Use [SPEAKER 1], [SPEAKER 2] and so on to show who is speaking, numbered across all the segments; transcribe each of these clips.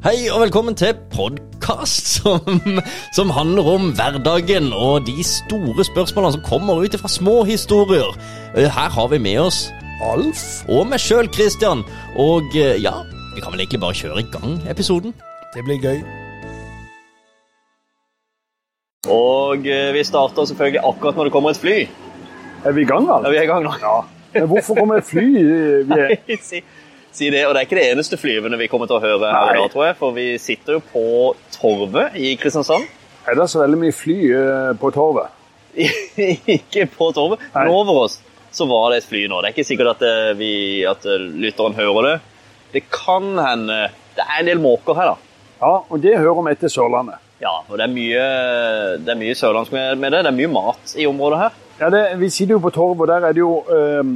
[SPEAKER 1] Hei og velkommen til podkast som, som handler om hverdagen og de store spørsmålene som kommer ut fra små historier. Eh, Her har vi med oss
[SPEAKER 2] Alf?
[SPEAKER 1] og meg sjøl, Christian. Og eh, ja, vi kan vel egentlig bare kjøre i gang episoden.
[SPEAKER 2] Det blir gøy.
[SPEAKER 1] Og vi starter selvfølgelig akkurat når det kommer et fly.
[SPEAKER 2] Er vi i gang, Alf?
[SPEAKER 1] vi er i gang nå.
[SPEAKER 2] Men hvorfor kommer et fly? Vi er...
[SPEAKER 1] si, si det. Og det er ikke det eneste flyvende vi kommer til å høre
[SPEAKER 2] Nei.
[SPEAKER 1] her i dag, tror jeg. For vi sitter jo på Torvet i Kristiansand.
[SPEAKER 2] Er det så veldig mye fly eh, på torvet?
[SPEAKER 1] ikke på Torvet, men
[SPEAKER 2] Nei.
[SPEAKER 1] over oss, så var det et fly nå. Det er ikke sikkert at, eh, vi, at eh, lytteren hører det. Det kan hende Det er en del måker her, da.
[SPEAKER 2] Ja, og det hører vi til Sørlandet.
[SPEAKER 1] Ja, og det er mye, det er mye sørlandsk med, med det. Det er mye mat i området her.
[SPEAKER 2] Ja, det, vi sitter jo på torvet, og der er det jo ehm,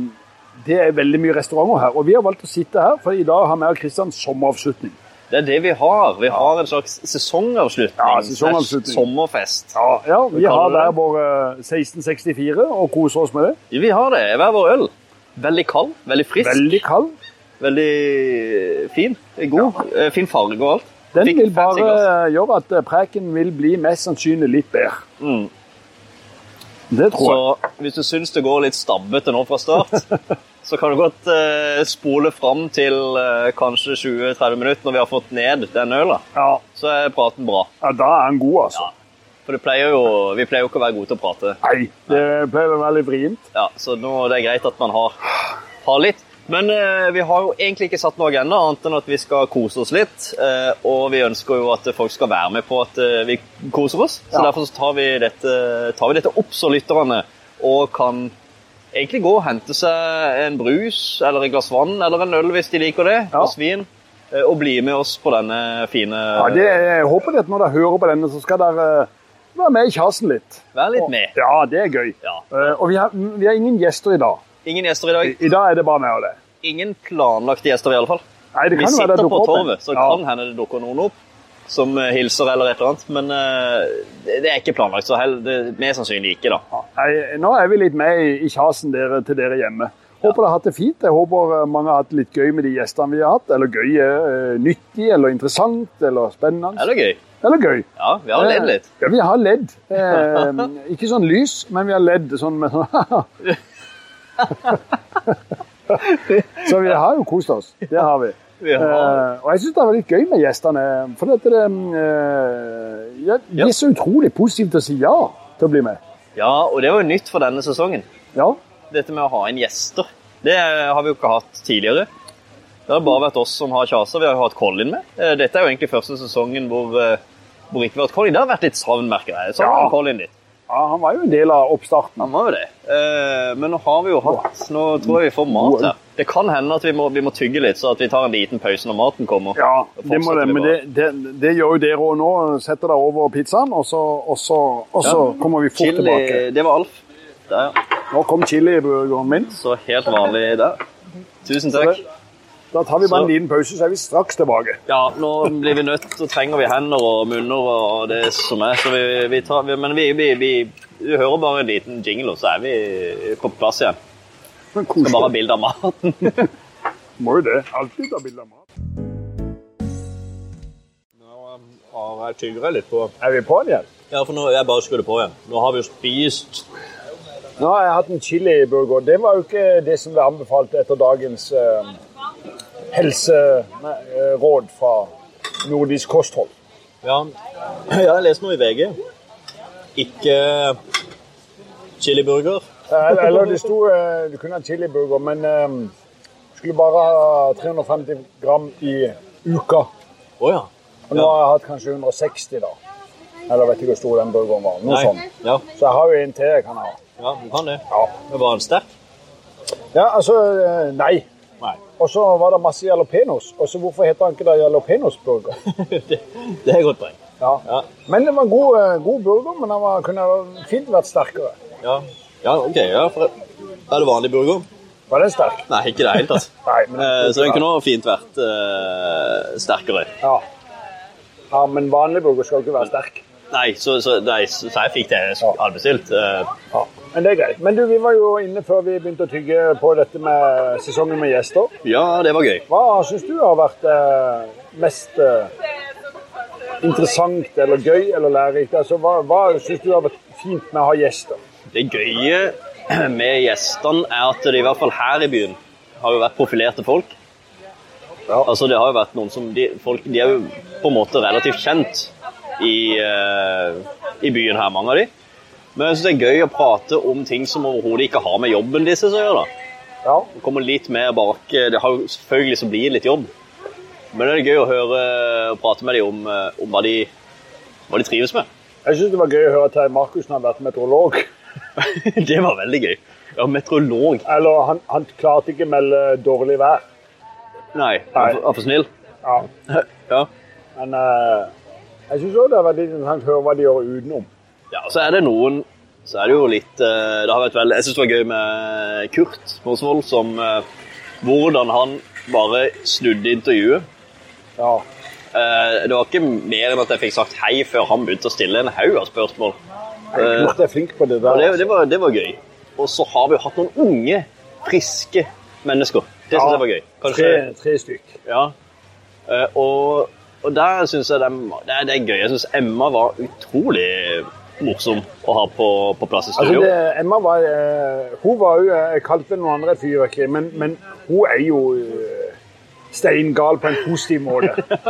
[SPEAKER 2] Det er veldig mye restauranter her. Og vi har valgt å sitte her, for i dag har vi og Kristian sommeravslutning.
[SPEAKER 1] Det er det vi har. Vi har en slags sesongavslutning.
[SPEAKER 2] Ja, sesongavslutning.
[SPEAKER 1] slags Sommerfest.
[SPEAKER 2] Ja, ja Vi
[SPEAKER 1] Hva kaller
[SPEAKER 2] har
[SPEAKER 1] du
[SPEAKER 2] hver
[SPEAKER 1] det?
[SPEAKER 2] vår eh, 1664 og koser oss med det.
[SPEAKER 1] Vi har det. Hver vår øl. Veldig kald, veldig frisk, veldig,
[SPEAKER 2] Veldig kald.
[SPEAKER 1] fin. God. Eh, Fin farge og alt.
[SPEAKER 2] Den
[SPEAKER 1] Fikk
[SPEAKER 2] vil
[SPEAKER 1] fancy
[SPEAKER 2] bare
[SPEAKER 1] glass.
[SPEAKER 2] gjøre at eh, preken vil bli mest sannsynlig litt bedre.
[SPEAKER 1] mm.
[SPEAKER 2] Det tror jeg.
[SPEAKER 1] Så hvis du syns det går litt stabbete nå fra start, så kan du godt eh, spole fram til eh, kanskje 20-30 minutter når vi har fått ned den øla.
[SPEAKER 2] Ja,
[SPEAKER 1] Så er praten bra.
[SPEAKER 2] ja, da er han god, altså.
[SPEAKER 1] Ja. For det pleier jo, vi pleier jo ikke å være gode til å prate.
[SPEAKER 2] Nei, det pleier å være litt vrient.
[SPEAKER 1] Ja, så nå det er greit at man har, har litt. Men eh, vi har jo egentlig ikke satt noe agenda, annet enn at vi skal kose oss litt. eh, og vi ønsker jo at folk skal være med på at eh, vi koser oss. Så
[SPEAKER 2] Ja.
[SPEAKER 1] derfor så tar, vi dette, tar vi dette opp så lytterne og kan egentlig gå og hente seg en brus eller et glass vann eller en øl hvis de liker det.
[SPEAKER 2] Ja.
[SPEAKER 1] Og svin. eh, og bli med oss på denne fine
[SPEAKER 2] Ja, det, jeg håper det at når dere hører på denne, så skal dere eh, være med i kjasen litt.
[SPEAKER 1] Vær litt med.
[SPEAKER 2] Ja, det er gøy.
[SPEAKER 1] Ja.
[SPEAKER 2] Eh, Og vi har, vi har ingen gjester i dag.
[SPEAKER 1] Ingen gjester i dag.
[SPEAKER 2] I dag er det bare meg og deg.
[SPEAKER 1] Ingen planlagte gjester, i alle fall.
[SPEAKER 2] Nei, det
[SPEAKER 1] Vi
[SPEAKER 2] kan jo være
[SPEAKER 1] sitter
[SPEAKER 2] det
[SPEAKER 1] på
[SPEAKER 2] dukker opp en.
[SPEAKER 1] torvet, så det
[SPEAKER 2] Ja.
[SPEAKER 1] kan hende det dukker noen opp som eh, hilser eller et eller annet. Men eh, det det er ikke planlagt, så hell, det er mer sannsynlig ikke, da.
[SPEAKER 2] Ja. Nei, nå er vi litt med i, i kjasen dere, til dere hjemme. Håper dere har hatt det fint. Jeg håper eh, mange har hatt det litt gøy med de gjestene vi har hatt. Eller gøy, eh, nyttig, eller interessant, eller spennende.
[SPEAKER 1] Eller gøy.
[SPEAKER 2] Eller gøy.
[SPEAKER 1] Ja, vi har ledd litt.
[SPEAKER 2] Eh, Ja, vi har ledd. Eh, ikke sånn lys, men vi har ledd sånn med sånn Så vi har jo kost oss. Det har vi.
[SPEAKER 1] Vi har,
[SPEAKER 2] Eh, og jeg syns det var litt gøy med gjestene. For dette, det, eh, ja, de
[SPEAKER 1] Ja.
[SPEAKER 2] er så utrolig positive til å si ja til å bli med.
[SPEAKER 1] ja, og det var jo nytt for denne sesongen.
[SPEAKER 2] Ja,
[SPEAKER 1] Dette med å ha inn gjester. Det eh, har vi jo ikke hatt tidligere. Det har bare vært oss som har kjasa. Vi har jo hatt Colin med. Eh, Dette er jo egentlig første sesongen hvor, eh, hvor ikke vi har hatt Colin. Det har vært litt savn, merker jeg. Savner
[SPEAKER 2] Ja.
[SPEAKER 1] Colin litt.
[SPEAKER 2] ja han var jo en del av oppstarten.
[SPEAKER 1] Han var jo det. Eh, Men nå har vi jo hatt Nå tror jeg vi får mat her. Det kan hende at vi må, vi må tygge litt, så at vi tar en liten pause når maten kommer.
[SPEAKER 2] Ja,
[SPEAKER 1] Da
[SPEAKER 2] det må
[SPEAKER 1] fortsetter
[SPEAKER 2] det,
[SPEAKER 1] vi
[SPEAKER 2] men det,
[SPEAKER 1] bare.
[SPEAKER 2] det, det gjør jo dere òg nå. Setter dere over pizzaen, og så, og så, og så
[SPEAKER 1] Ja.
[SPEAKER 2] kommer vi fort tilbake.
[SPEAKER 1] Chili eh, Det var Alf. Der, ja.
[SPEAKER 2] Nå kom chiliburgeren min.
[SPEAKER 1] Så helt vanlig der. Tusen takk.
[SPEAKER 2] Da tar vi bare en
[SPEAKER 1] Så-
[SPEAKER 2] liten pause, så er vi straks tilbake.
[SPEAKER 1] Ja, nå blir vi nødt, og trenger vi hender og munner og det som er. Så vi, vi tar, vi, men vi, vi, vi, vi hører bare en liten jingle, og så er vi på plass igjen. Skal bare ha
[SPEAKER 2] Koselig.
[SPEAKER 1] bilde av maten.
[SPEAKER 2] Må jo det. Alltid ta bilde av mat.
[SPEAKER 3] Og jeg tygger litt på.
[SPEAKER 2] Er vi på den igjen?
[SPEAKER 1] Ja, for nå jeg bare skrur det på igjen. Nå har vi jo spist
[SPEAKER 2] Nå har jeg hatt en chiliburger. Det var jo ikke det som ble anbefalt etter dagens eh, helseråd fra nordisk kosthold.
[SPEAKER 3] Ja, jeg har lest noe i VG. Ikke chiliburger.
[SPEAKER 2] Eh, Eller det sto eh, du kunne ha chiliburger, men eh, skulle bare ha 350 gram i uka.
[SPEAKER 3] Å ja.
[SPEAKER 2] Og nå har jeg hatt kanskje 160, da. Eller vet ikke hvor stor den burgeren var. Noe
[SPEAKER 3] Nei.
[SPEAKER 2] sånt.
[SPEAKER 3] Ja,
[SPEAKER 2] Så jeg har jo en til jeg kan ha.
[SPEAKER 3] ja, du kan det.
[SPEAKER 2] Ja,
[SPEAKER 3] Men var den sterk?
[SPEAKER 2] ja altså eh, Nei.
[SPEAKER 3] Nei.
[SPEAKER 2] Og så var det masse jalapeños. Og så hvorfor heter han ikke det jalapeños-burger?
[SPEAKER 3] det, det er et godt poeng.
[SPEAKER 2] Ja.
[SPEAKER 3] Ja.
[SPEAKER 2] Men det var en god, eh, god burger, men den var, kunne fint vært sterkere.
[SPEAKER 3] Ja, ja OK. Ja, for er det vanlig burger?
[SPEAKER 2] Var den sterk?
[SPEAKER 3] Nei, ikke i det hele tatt.
[SPEAKER 2] Nei, men
[SPEAKER 3] Eh, Så den kunne også fint vært eh, sterkere.
[SPEAKER 2] ja. ja, men vanlig burger skal ikke være sterk.
[SPEAKER 3] Nei, så, så, nei, så så jeg fikk det jeg hadde bestilt. Eh,
[SPEAKER 2] Ja. Men det er greit. Men du, vi var jo inne før vi begynte å tygge på dette med sesongen med gjester.
[SPEAKER 3] Ja, det var gøy.
[SPEAKER 2] Hva syns du har vært eh, mest eh, interessant eller gøy eller lærerikt? Altså, hva hva syns du har vært fint med å ha gjester?
[SPEAKER 1] Det gøye med gjestene er at det i hvert fall her i byen har jo vært profilerte folk.
[SPEAKER 2] Ja.
[SPEAKER 1] Altså det har jo vært noen som de, folk, de er jo på en måte relativt kjent i, eh, i byen her, mange av de. Men jeg syns det er gøy å prate om ting som overhodet ikke har med jobben disse å gjøre. da.
[SPEAKER 2] Ja,
[SPEAKER 1] Kommer litt mer bak. eh, Det har jo selvfølgelig så blir det litt jobb. Men det er gøy å høre og prate med dem om, eh, om hva, de, hva de trives med.
[SPEAKER 2] jeg syns det var gøy å høre at Terje Markussen har vært meteorolog.
[SPEAKER 1] det var veldig gøy. Ja, meteorolog.
[SPEAKER 2] Eller han, han klarte ikke å melde dårlig vær.
[SPEAKER 1] Nei, han er for- han er for snill.
[SPEAKER 2] Ja.
[SPEAKER 1] Ja.
[SPEAKER 2] Men eh, jeg syns òg det har vært litt interessant å høre hva de gjør utenom.
[SPEAKER 1] Ja, og så er det noen Så er det jo litt eh, Det har vært veldig Jeg syns det var gøy med eh, Kurt Mosvold, som eh, Hvordan han bare snudde intervjuet.
[SPEAKER 2] Ja.
[SPEAKER 1] Eh, Det var ikke mer enn at jeg fikk sagt hei før han begynte å stille en haug av spørsmål. Eh,
[SPEAKER 2] Knut er flink på det der.
[SPEAKER 1] Og det, det, var, det var gøy. Og så har vi jo hatt noen unge, friske mennesker. Det syns jeg var gøy.
[SPEAKER 2] Tre, tre stykk.
[SPEAKER 1] Ja. Eh, Og, og der syns jeg dem- det, er- det er gøy. Jeg syns Emma var utrolig morsom å ha på, på plass i
[SPEAKER 2] Altså,
[SPEAKER 1] studio.
[SPEAKER 2] det, Emma var eh, Hun var jo Jeg kalte noen andre et fyrverkeri, men, men hun er jo eh, steingal på en positiv måte.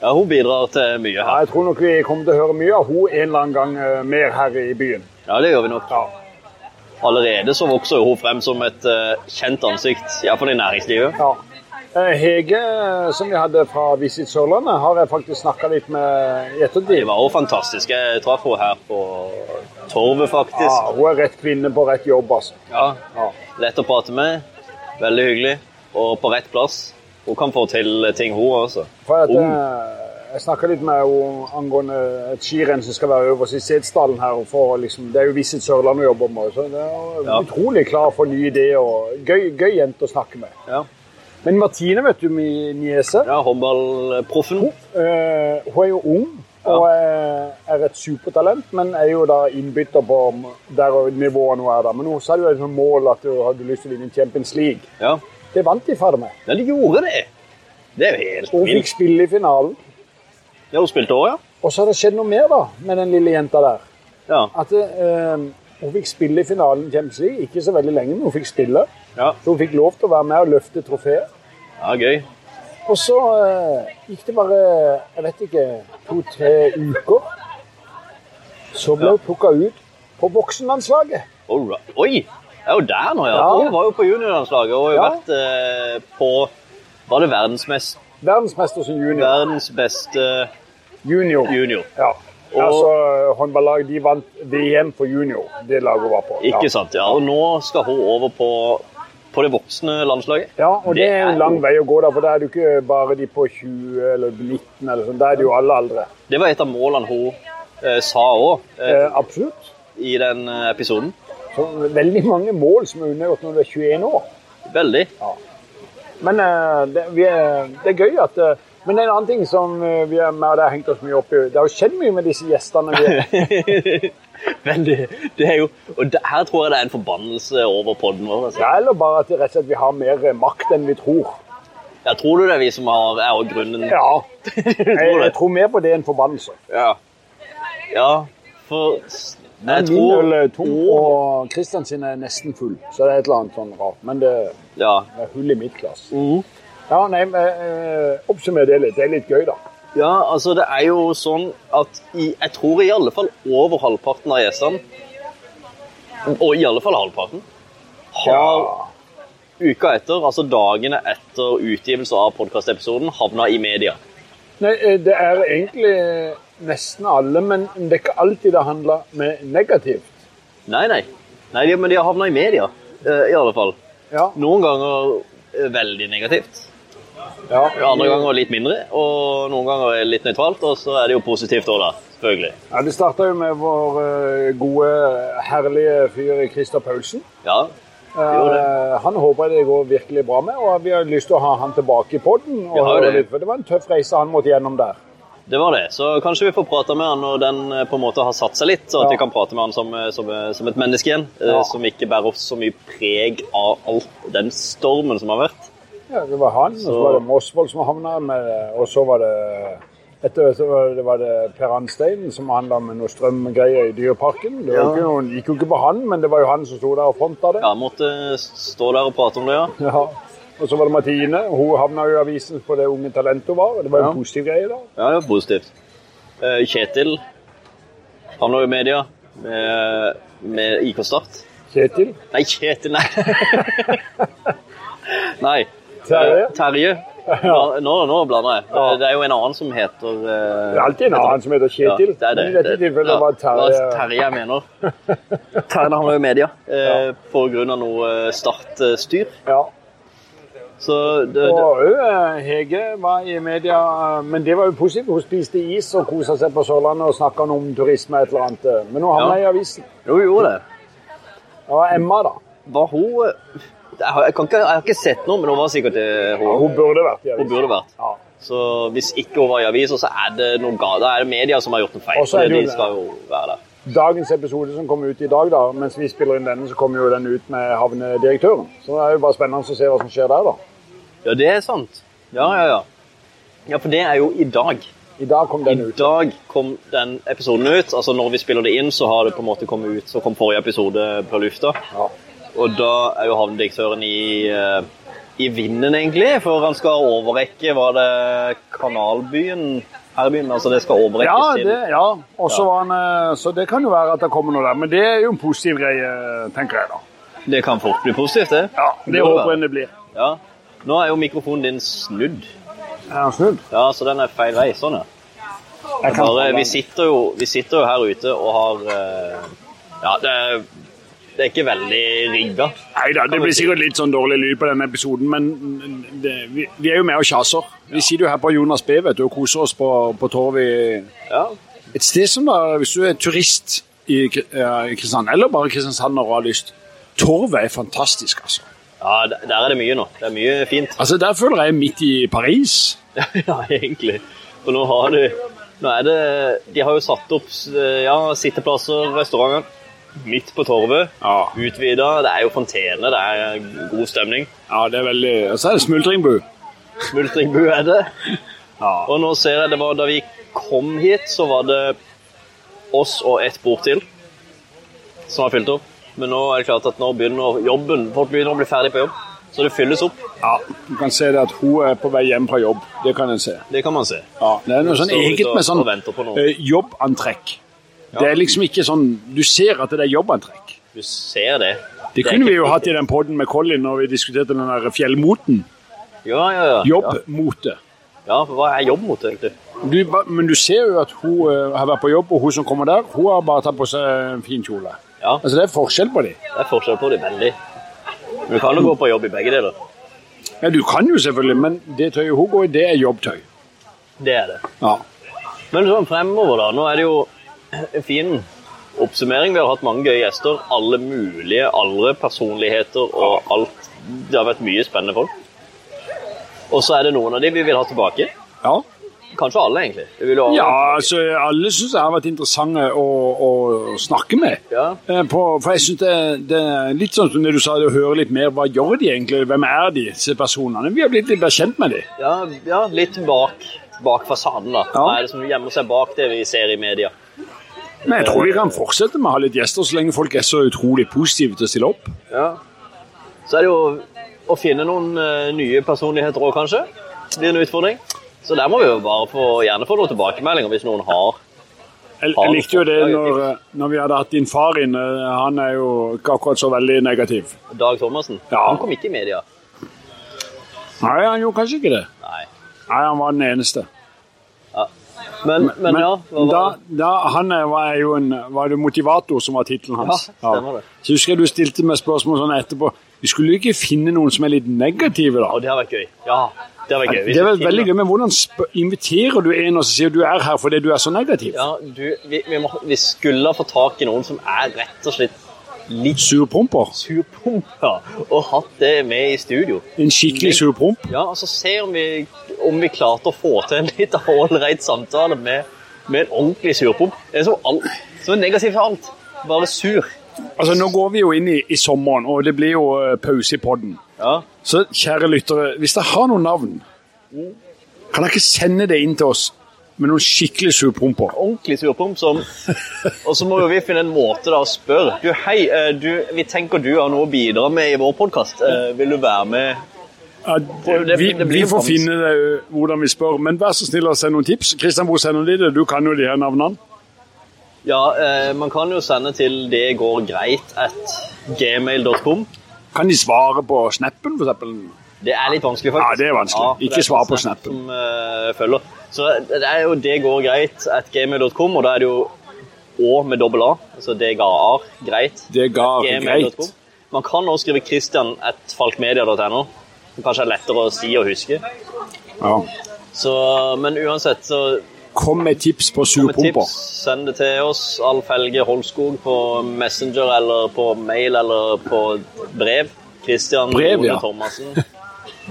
[SPEAKER 1] Ja, hun bidrar til mye
[SPEAKER 2] Ja,
[SPEAKER 1] her.
[SPEAKER 2] jeg tror nok vi kommer til å høre mye av hun en eller annen gang eh, mer her i byen.
[SPEAKER 1] Ja, det gjør vi nok.
[SPEAKER 2] Ja.
[SPEAKER 1] Allerede så vokser jo hun frem som et eh, kjent ansikt, iallfall i næringslivet.
[SPEAKER 2] ja. Eh, Hege, eh, som vi hadde fra Visit Sørlandet, har jeg faktisk snakka litt med i
[SPEAKER 1] Det
[SPEAKER 2] ettertid.
[SPEAKER 1] var jo fantastisk. Jeg traff henne her på Torvet,
[SPEAKER 2] Ja,
[SPEAKER 1] faktisk.
[SPEAKER 2] Ah, hun er rett kvinne på rett jobb, altså.
[SPEAKER 1] Ja,
[SPEAKER 2] Ja.
[SPEAKER 1] Lett å prate med. Veldig hyggelig. Og på rett plass. Hun kan få til ting, hun også.
[SPEAKER 2] For at,
[SPEAKER 1] Ung.
[SPEAKER 2] eh, Jeg snakka litt med henne angående et skirenn som skal være øverst i Setesdalen her. og For, å liksom, det er jo Visit Sørlandet hun jobber med. Så det er
[SPEAKER 1] Ja.
[SPEAKER 2] Utrolig klar for nye ideer. og Gøy, gøy jente å snakke med.
[SPEAKER 1] Ja,
[SPEAKER 2] Men Martine, vet du, min niese,
[SPEAKER 1] ja Håndballproffen.
[SPEAKER 2] eh, hun er jo ung.
[SPEAKER 1] Ja.
[SPEAKER 2] Og eh, er et supertalent, men er jo da innbytter på m- der og nivået hun er. da. Men hun sa jo et sånt mål at hun hadde lyst til å vinne Champions League.
[SPEAKER 1] Ja.
[SPEAKER 2] Det vant de fader meg.
[SPEAKER 1] ja, de gjorde det. Det er jo helt
[SPEAKER 2] Hun fikk
[SPEAKER 1] vilt.
[SPEAKER 2] spille i finalen.
[SPEAKER 1] Ja, hun spilte òg, ja.
[SPEAKER 2] Og så har det skjedd noe mer da, med den lille jenta der.
[SPEAKER 1] Ja.
[SPEAKER 2] at eh, hun fikk spille i finalen i Champions League. Ikke så veldig lenge, men hun fikk spille.
[SPEAKER 1] Ja,
[SPEAKER 2] Så hun fikk lov til å være med og løfte trofeet.
[SPEAKER 1] ja gøy.
[SPEAKER 2] Og så eh, gikk det bare jeg vet ikke, to-tre uker. Så ble hun plukka ut på voksenlandslaget.
[SPEAKER 1] All right. Oi! Jeg er jo der nå, ja.
[SPEAKER 2] Ja.
[SPEAKER 1] Hun var jo på juniorlandslaget og har jo
[SPEAKER 2] Ja.
[SPEAKER 1] vært eh, på Var det verdens, mest,
[SPEAKER 2] Verdensmester som junior.
[SPEAKER 1] verdens beste
[SPEAKER 2] Junior.
[SPEAKER 1] junior?
[SPEAKER 2] Ja.
[SPEAKER 1] Og-
[SPEAKER 2] Altså, Håndballaget de vant VM for junior, det laget hun var på.
[SPEAKER 1] Ikke
[SPEAKER 2] Ja.
[SPEAKER 1] sant? Ja, og nå skal hun over på, på det voksne landslaget.
[SPEAKER 2] Ja, og det er
[SPEAKER 1] jo-
[SPEAKER 2] en lang vei å gå, da, for da er det jo ikke bare de på 20 eller 19. eller sånn, Da er det jo alle aldre.
[SPEAKER 1] Det var et av målene hun eh, sa òg eh,
[SPEAKER 2] Eh, absolutt.
[SPEAKER 1] i den eh, episoden.
[SPEAKER 2] Så veldig mange mål som er undergjort når du er 21 år.
[SPEAKER 1] Veldig.
[SPEAKER 2] Men eh, det, vi er, det er gøy at eh, Men en annen ting som eh, vi er med, og det har hengt oss mye opp i Det har jo skjedd mye med disse gjestene. Vi er.
[SPEAKER 1] Veldig. Det er jo Og det, her tror jeg det er en forbannelse over podden vår. Altså.
[SPEAKER 2] Ja, eller bare at det rett og slett vi har mer eh, makt enn vi tror.
[SPEAKER 1] Ja, tror du det er vi som har, er også grunnen?
[SPEAKER 2] Ja.
[SPEAKER 1] tror
[SPEAKER 2] Jeg,
[SPEAKER 1] det.
[SPEAKER 2] jeg tror mer på det enn forbannelse.
[SPEAKER 1] Ja. Ja, for Nei, jeg
[SPEAKER 2] Min
[SPEAKER 1] tror
[SPEAKER 2] øl er tom, og Christian sin er nesten full. Så det er et eller annet sånn rart. Men det
[SPEAKER 1] Ja.
[SPEAKER 2] er hull i mitt glass.
[SPEAKER 1] Mhm.
[SPEAKER 2] Ja, nei, men, eh, Oppsummer det litt. Det er litt gøy, da.
[SPEAKER 1] ja, altså det er jo sånn at i, jeg tror i alle fall over halvparten av gjestene, og i alle fall halvparten, har uka etter, altså dagene etter utgivelse av podkastepisoden, havna i media.
[SPEAKER 2] Nei, eh, det er egentlig nesten alle, men det er ikke alltid det handler med negativt.
[SPEAKER 1] Nei, nei. nei de, men de har havna i media, eh, i alle fall.
[SPEAKER 2] Ja,
[SPEAKER 1] Noen ganger eh, veldig negativt,
[SPEAKER 2] ja.
[SPEAKER 1] andre ganger litt mindre, og noen ganger er det litt nøytralt, og så er det jo positivt òg, da. Selvfølgelig.
[SPEAKER 2] ja det starta jo med vår eh, gode, herlige fyr Christer Paulsen.
[SPEAKER 1] Ja. gjorde
[SPEAKER 2] Eh, han håper jeg det går virkelig bra med, og vi har lyst til å ha han tilbake i poden.
[SPEAKER 1] Vi har jo det.
[SPEAKER 2] For det var en tøff reise han måtte gjennom der.
[SPEAKER 1] Det var det. Så kanskje vi får prate med han når den eh, på en måte har satt seg litt, så at
[SPEAKER 2] Ja.
[SPEAKER 1] vi kan prate med han som, eh, som, eh, som et menneske igjen. eh,
[SPEAKER 2] Ja.
[SPEAKER 1] Som ikke bærer så mye preg av all den stormen som har vært.
[SPEAKER 2] Ja, det var han, og så var det Mosvold som havna med, og så var det Etter så var det, var det Per Anstein som handla med noe strømgreier i Dyreparken. Det var
[SPEAKER 1] Ja.
[SPEAKER 2] jo ikke noen, gikk jo ikke på han, men det var jo han som sto der og fronta det.
[SPEAKER 1] Ja, måtte eh, stå der og prate om det, ja.
[SPEAKER 2] Ja. Og så var det Martine. Hun havna jo i avisen på det Unge Talenter var. Det var jo
[SPEAKER 1] Ja.
[SPEAKER 2] en positiv greie da.
[SPEAKER 1] Ja, det var positivt. Eh, Kjetil havna jo i media med, med IK Start.
[SPEAKER 2] Kjetil.
[SPEAKER 1] Nei, Kjetil, nei. nei.
[SPEAKER 2] Terje.
[SPEAKER 1] Eh, Terje. Nå, nå- nå blander jeg. Eh, Det er jo en annen som heter eh,
[SPEAKER 2] Det er alltid en annen som heter Kjetil.
[SPEAKER 1] Ja, det er det.
[SPEAKER 2] Men i dette
[SPEAKER 1] Det-
[SPEAKER 2] tilfellet
[SPEAKER 1] ja,
[SPEAKER 2] var det
[SPEAKER 1] det var
[SPEAKER 2] Terje.
[SPEAKER 1] Terje jeg mener. Terje havna jo i media eh, på grunn av noe eh, startstyr.
[SPEAKER 2] Ja.
[SPEAKER 1] Så det, det,
[SPEAKER 2] Og òg Hege var i media, eh, men det var jo positivt. Hun spiste is og kosa seg på Sørlandet og snakka om turisme et eller annet. eh. Men nå havna hun
[SPEAKER 1] Ja.
[SPEAKER 2] i avisen.
[SPEAKER 1] jo, hun gjorde det.
[SPEAKER 2] Det var Emma, da.
[SPEAKER 1] Var hun eh, Jeg har, jeg kan ikke, jeg har ikke sett noe, men hun var sikkert eh,
[SPEAKER 2] Ja,
[SPEAKER 1] hun,
[SPEAKER 2] hun burde vært i
[SPEAKER 1] hun
[SPEAKER 2] avisen.
[SPEAKER 1] burde vært.
[SPEAKER 2] Ja.
[SPEAKER 1] Så hvis ikke hun var i avisa, så er det noen galt. Da er det media som har gjort en feil.
[SPEAKER 2] Og så er det
[SPEAKER 1] for
[SPEAKER 2] jo
[SPEAKER 1] de
[SPEAKER 2] det.
[SPEAKER 1] skal jo være der.
[SPEAKER 2] Dagens episode som kom ut i dag, da, mens vi spiller inn denne, så kommer jo den ut med havnedirektøren. Så det er jo bare spennende å se hva som skjer der, da.
[SPEAKER 1] Ja, det er sant. Ja, ja, ja. Ja, for det er jo i dag.
[SPEAKER 2] I dag kom
[SPEAKER 1] I
[SPEAKER 2] den ut.
[SPEAKER 1] dag kom den episoden ut. Altså Når vi spiller det inn, så har det på en måte kommet ut. Så kom forrige episode på lufta.
[SPEAKER 2] Ja.
[SPEAKER 1] Og da er jo havnedirektøren i, eh, i vinden, egentlig. For han skal overrekke Var det Kanalbyen? Herrebyen? Altså, det skal
[SPEAKER 2] Ja,
[SPEAKER 1] overrekkes til
[SPEAKER 2] det, ja. Og så
[SPEAKER 1] Ja.
[SPEAKER 2] var han, eh, så det kan jo være at det kommer noe der. Men det er jo en positiv greie, tenker jeg da.
[SPEAKER 1] Det kan fort bli positivt, det.
[SPEAKER 2] Ja, Det
[SPEAKER 1] må det
[SPEAKER 2] håper
[SPEAKER 1] være.
[SPEAKER 2] en det blir.
[SPEAKER 1] Ja. Nå er jo mikrofonen din snudd,
[SPEAKER 2] Er han snudd?
[SPEAKER 1] ja, så den er feil vei. Sånn, ja.
[SPEAKER 2] Jeg kan
[SPEAKER 1] Bare,
[SPEAKER 2] ta
[SPEAKER 1] vi,
[SPEAKER 2] den.
[SPEAKER 1] sitter jo, vi sitter jo her ute og har eh, Ja, det er, det er ikke veldig rigga.
[SPEAKER 2] Nei da, det blir sikkert litt sånn dårlig lyd på denne episoden, men det, vi, vi er jo med og kjaser. Vi sitter jo her på Jonas B vet du, og koser oss på, på torvet. i-
[SPEAKER 1] Ja.
[SPEAKER 2] Et sted som da, hvis du er turist i Kri- eh, i Kristiansand, eller bare Kristiansand og har lyst, torvet er fantastisk, altså.
[SPEAKER 1] ja, d- der er det mye nå. Det er mye fint.
[SPEAKER 2] Altså, der føler jeg er midt i Paris.
[SPEAKER 1] ja, egentlig. For nå har du Nå er det De har jo satt opp eh, ja, sitteplasser, restauranter, midt på torvet.
[SPEAKER 2] Ja,
[SPEAKER 1] Utvida. Det er jo fontene, det er god stemning.
[SPEAKER 2] ja det er veldig... Og så er det smultringbu.
[SPEAKER 1] Smultringbu er det.
[SPEAKER 2] Ja.
[SPEAKER 1] Og nå ser jeg det var da vi kom hit, så var det oss og ett bord til som var fylt opp. Men nå er det klart at nå begynner jobben. Folk begynner å bli ferdig på jobb. Så det fylles opp.
[SPEAKER 2] Ja, du kan se det at hun er på vei hjem fra jobb. Det kan en se.
[SPEAKER 1] Det kan man se.
[SPEAKER 2] Ja, det er noe sånn
[SPEAKER 1] Står ute
[SPEAKER 2] eget
[SPEAKER 1] og-
[SPEAKER 2] med sånn
[SPEAKER 1] og venter på noe.
[SPEAKER 2] eh, jobbantrekk. Det er liksom ikke sånn... Du ser at det er jobbantrekk.
[SPEAKER 1] Du ser det.
[SPEAKER 2] Det
[SPEAKER 1] er
[SPEAKER 2] kunne vi
[SPEAKER 1] ikke-
[SPEAKER 2] jo hatt i den podden med Colin når vi diskuterte den der fjellmoten.
[SPEAKER 1] Ja, ja, ja.
[SPEAKER 2] Jobbmote.
[SPEAKER 1] Ja, for hva er jobb mot, egentlig?
[SPEAKER 2] Du, ba- men du ser jo at hun eh, har vært på jobb, og hun som kommer der, hun har bare tatt på seg en fin kjole.
[SPEAKER 1] Ja,
[SPEAKER 2] Altså, det er forskjell på dem.
[SPEAKER 1] det er forskjell på det veldig. Men du kan jo gå på jobb i begge deler.
[SPEAKER 2] Ja, du kan jo selvfølgelig, men det tøyet hun går i, det er jobbtøy.
[SPEAKER 1] Det er det.
[SPEAKER 2] Ja.
[SPEAKER 1] Men sånn fremover, da. Nå er det jo en fin oppsummering. Vi har hatt mange gøye gjester. Alle mulige aldre, personligheter og alt. Det har vært mye spennende folk. Og så er det noen av de vi vil ha tilbake.
[SPEAKER 2] Ja,
[SPEAKER 1] Kanskje alle, egentlig. Vi vil jo ha-
[SPEAKER 2] ja altså, alle syns jeg har vært interessante å, å snakke med.
[SPEAKER 1] Ja.
[SPEAKER 2] Eh, På, for jeg syns det, det er litt sånn som det du sa, det å høre litt mer. Hva gjør de egentlig? Hvem er de, disse personene? Vi har blitt litt bedre kjent med dem.
[SPEAKER 1] Ja, ja, litt bak, bak fasaden, da.
[SPEAKER 2] Ja.
[SPEAKER 1] Hva er det som gjemmer seg bak det vi ser i media?
[SPEAKER 2] Men jeg tror vi kan fortsette med å ha litt gjester, så lenge folk er så utrolig positive til å stille opp.
[SPEAKER 1] Ja. Så er det jo å finne noen eh, nye personligheter òg, kanskje. Det blir en utfordring. Så der må vi jo bare få, gjerne få noen tilbakemeldinger hvis noen har
[SPEAKER 2] Jeg,
[SPEAKER 1] Har
[SPEAKER 2] jeg
[SPEAKER 1] du
[SPEAKER 2] likte jo
[SPEAKER 1] fått
[SPEAKER 2] det
[SPEAKER 1] deg
[SPEAKER 2] når, eh, når vi hadde hatt din far inne. Han er jo ikke akkurat så veldig negativ.
[SPEAKER 1] Dag Thomassen.
[SPEAKER 2] Ja.
[SPEAKER 1] Han kom ikke i media.
[SPEAKER 2] Nei, han gjorde kanskje ikke det.
[SPEAKER 1] Nei.
[SPEAKER 2] Nei, han var den eneste.
[SPEAKER 1] Men, men, ja, hva
[SPEAKER 2] da,
[SPEAKER 1] var det?
[SPEAKER 2] da, han er- var jo en var det motivator som var tittelen hans.
[SPEAKER 1] Ja, stemmer det.
[SPEAKER 2] Så husker jeg du stilte meg spørsmål sånn etterpå. Vi skulle jo ikke finne noen som er litt negative, da.
[SPEAKER 1] Å, det har vært gøy. Ja, det har vært gøy.
[SPEAKER 2] Det er vel veldig gøy, men hvordan sp- inviterer du en og så sier du er her fordi du er så negativ?
[SPEAKER 1] Ja, du, vi, vi, må, vi skulle ha fått tak i noen som er rett og slett litt
[SPEAKER 2] Surpromper.
[SPEAKER 1] surpumpa, og hatt det med i studio.
[SPEAKER 2] En skikkelig surpromp.
[SPEAKER 1] Ja, altså se om vi, om vi klarte å få til en litt ålreit samtale med, med en ordentlig surpomp. Det er som, alt, som er negativt for alt. Bare sur.
[SPEAKER 2] Altså, nå går vi jo inn i, i sommeren, og det blir jo eh, pause i podden.
[SPEAKER 1] Ja.
[SPEAKER 2] Så kjære lyttere, hvis dere har noen navn, kan dere ikke sende det inn til oss? med noen skikkelig surpomper.
[SPEAKER 1] ordentlig surpomp som Og så må jo vi finne en måte da å spørre. Du, hei, eh, du, vi tenker du har noe å bidra med i vår podkast. Vil du være med?
[SPEAKER 2] Ja,
[SPEAKER 1] det-
[SPEAKER 2] vi,
[SPEAKER 1] det
[SPEAKER 2] vi
[SPEAKER 1] blir
[SPEAKER 2] får
[SPEAKER 1] fans.
[SPEAKER 2] finne det, ø, hvordan vi spør, men vær så snill å sende noen tips. Kristian, hvor sender de det? Du kan jo de her navnene.
[SPEAKER 1] Ja, eh, man kan jo sende til det går greit at gmail.com.
[SPEAKER 2] Kan de svare på snappen, for eksempel?
[SPEAKER 1] Det er litt vanskelig, faktisk.
[SPEAKER 2] Ja, det er vanskelig.
[SPEAKER 1] for det
[SPEAKER 2] Ikke
[SPEAKER 1] er
[SPEAKER 2] svar på
[SPEAKER 1] sånn
[SPEAKER 2] Snap.
[SPEAKER 1] Som eh, følger. Så det er jo det går greit at gmail.com, og da er det jo Å med dobbel A. Altså det ga ar, greit.
[SPEAKER 2] Det ga greit.
[SPEAKER 1] gmail.com. Man kan også skrive Christian at falkmedia.no. Som kanskje er lettere å si og huske.
[SPEAKER 2] Ja.
[SPEAKER 1] Så, men uansett, så
[SPEAKER 2] Kom med tips på
[SPEAKER 1] med tips,
[SPEAKER 2] surpomper.
[SPEAKER 1] send det til oss. Alf Helge Holskog på Messenger eller på mail eller på brev. Christian
[SPEAKER 2] Brev,
[SPEAKER 1] Ole
[SPEAKER 2] ja.
[SPEAKER 1] Thomassen.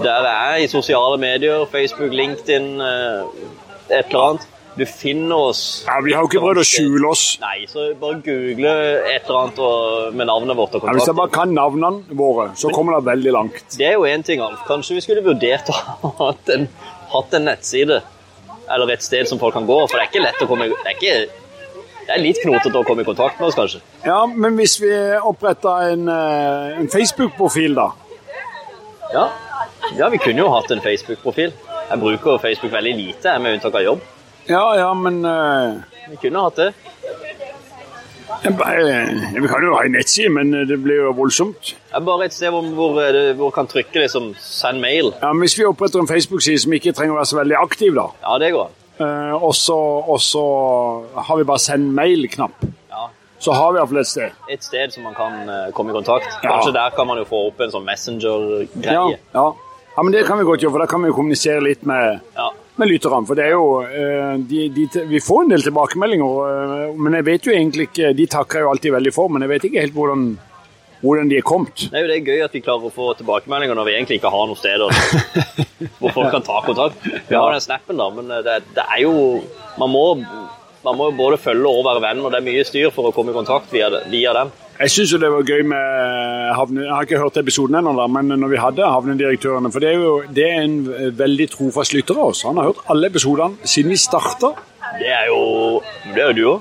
[SPEAKER 1] Der er jeg i sosiale medier, Facebook, LinkedIn, eh, et eller annet. Du finner oss.
[SPEAKER 2] Ja, vi har jo ikke prøvd å skjule oss.
[SPEAKER 1] Nei, så bare google et eller annet og, med navnet vårt og
[SPEAKER 2] Ja, hvis jeg
[SPEAKER 1] kontakt.
[SPEAKER 2] bare kan navnene våre, så kommer det veldig langt.
[SPEAKER 1] Det er jo én ting, Alf. Kanskje vi skulle vurdert å ha hatt en, hatt en nettside eller et sted som folk kan gå. For det er ikke lett å komme i Det er, ikke, det er litt knotete å komme i kontakt med oss, kanskje.
[SPEAKER 2] Ja, men hvis vi oppretter en, ø, en Facebook-profil, da?
[SPEAKER 1] Ja, ja vi kunne jo hatt en Facebook-profil. Jeg bruker Facebook veldig lite, jeg, med unntak av jobb.
[SPEAKER 2] Ja, ja, men eh, ø,
[SPEAKER 1] Vi kunne hatt det.
[SPEAKER 2] jeg bare- Vi kan jo ha en nettside, men ø, det blir jo voldsomt.
[SPEAKER 1] Det er bare et sted hvor, hvor, eh, hvor kan trykke liksom 'send mail'.
[SPEAKER 2] Ja, men Hvis vi oppretter en Facebook-side som ikke trenger å være så veldig aktiv, da,
[SPEAKER 1] Ja, det går an.
[SPEAKER 2] eh, og så og så har vi bare 'send mail'-knapp,
[SPEAKER 1] Ja.
[SPEAKER 2] så har vi iallfall et sted.
[SPEAKER 1] Et sted som man kan eh, komme i kontakt.
[SPEAKER 2] Ja.
[SPEAKER 1] Kanskje der kan man jo få opp en sånn
[SPEAKER 2] Ja,
[SPEAKER 1] Messenger-greie.
[SPEAKER 2] ja. ja, men Det kan vi godt gjøre, for da kan vi kommunisere litt med,
[SPEAKER 1] Ja.
[SPEAKER 2] med lytterne. For det er jo eh, de, de, Vi får en del tilbakemeldinger, eh, men jeg vet jo egentlig ikke De takker jo alltid veldig for, men jeg vet ikke helt hvordan, hvordan de er kommet.
[SPEAKER 1] Det er jo det er gøy at vi klarer å få tilbakemeldinger når vi egentlig ikke har noen steder hvor folk kan ta kontakt. Vi har den snappen, da, men eh, det, det er jo man må, man må jo både følge og være venn, og det er mye styr for å komme i kontakt via, det- via den.
[SPEAKER 2] Jeg syns jo det var gøy med eh, havne... Jeg har ikke hørt episoden ennå, da, men når vi hadde havnedirektørene For det er jo det er en veldig trofast lytter av oss. Han har hørt alle episodene siden vi starta.
[SPEAKER 1] Det er jo Det er jo du òg.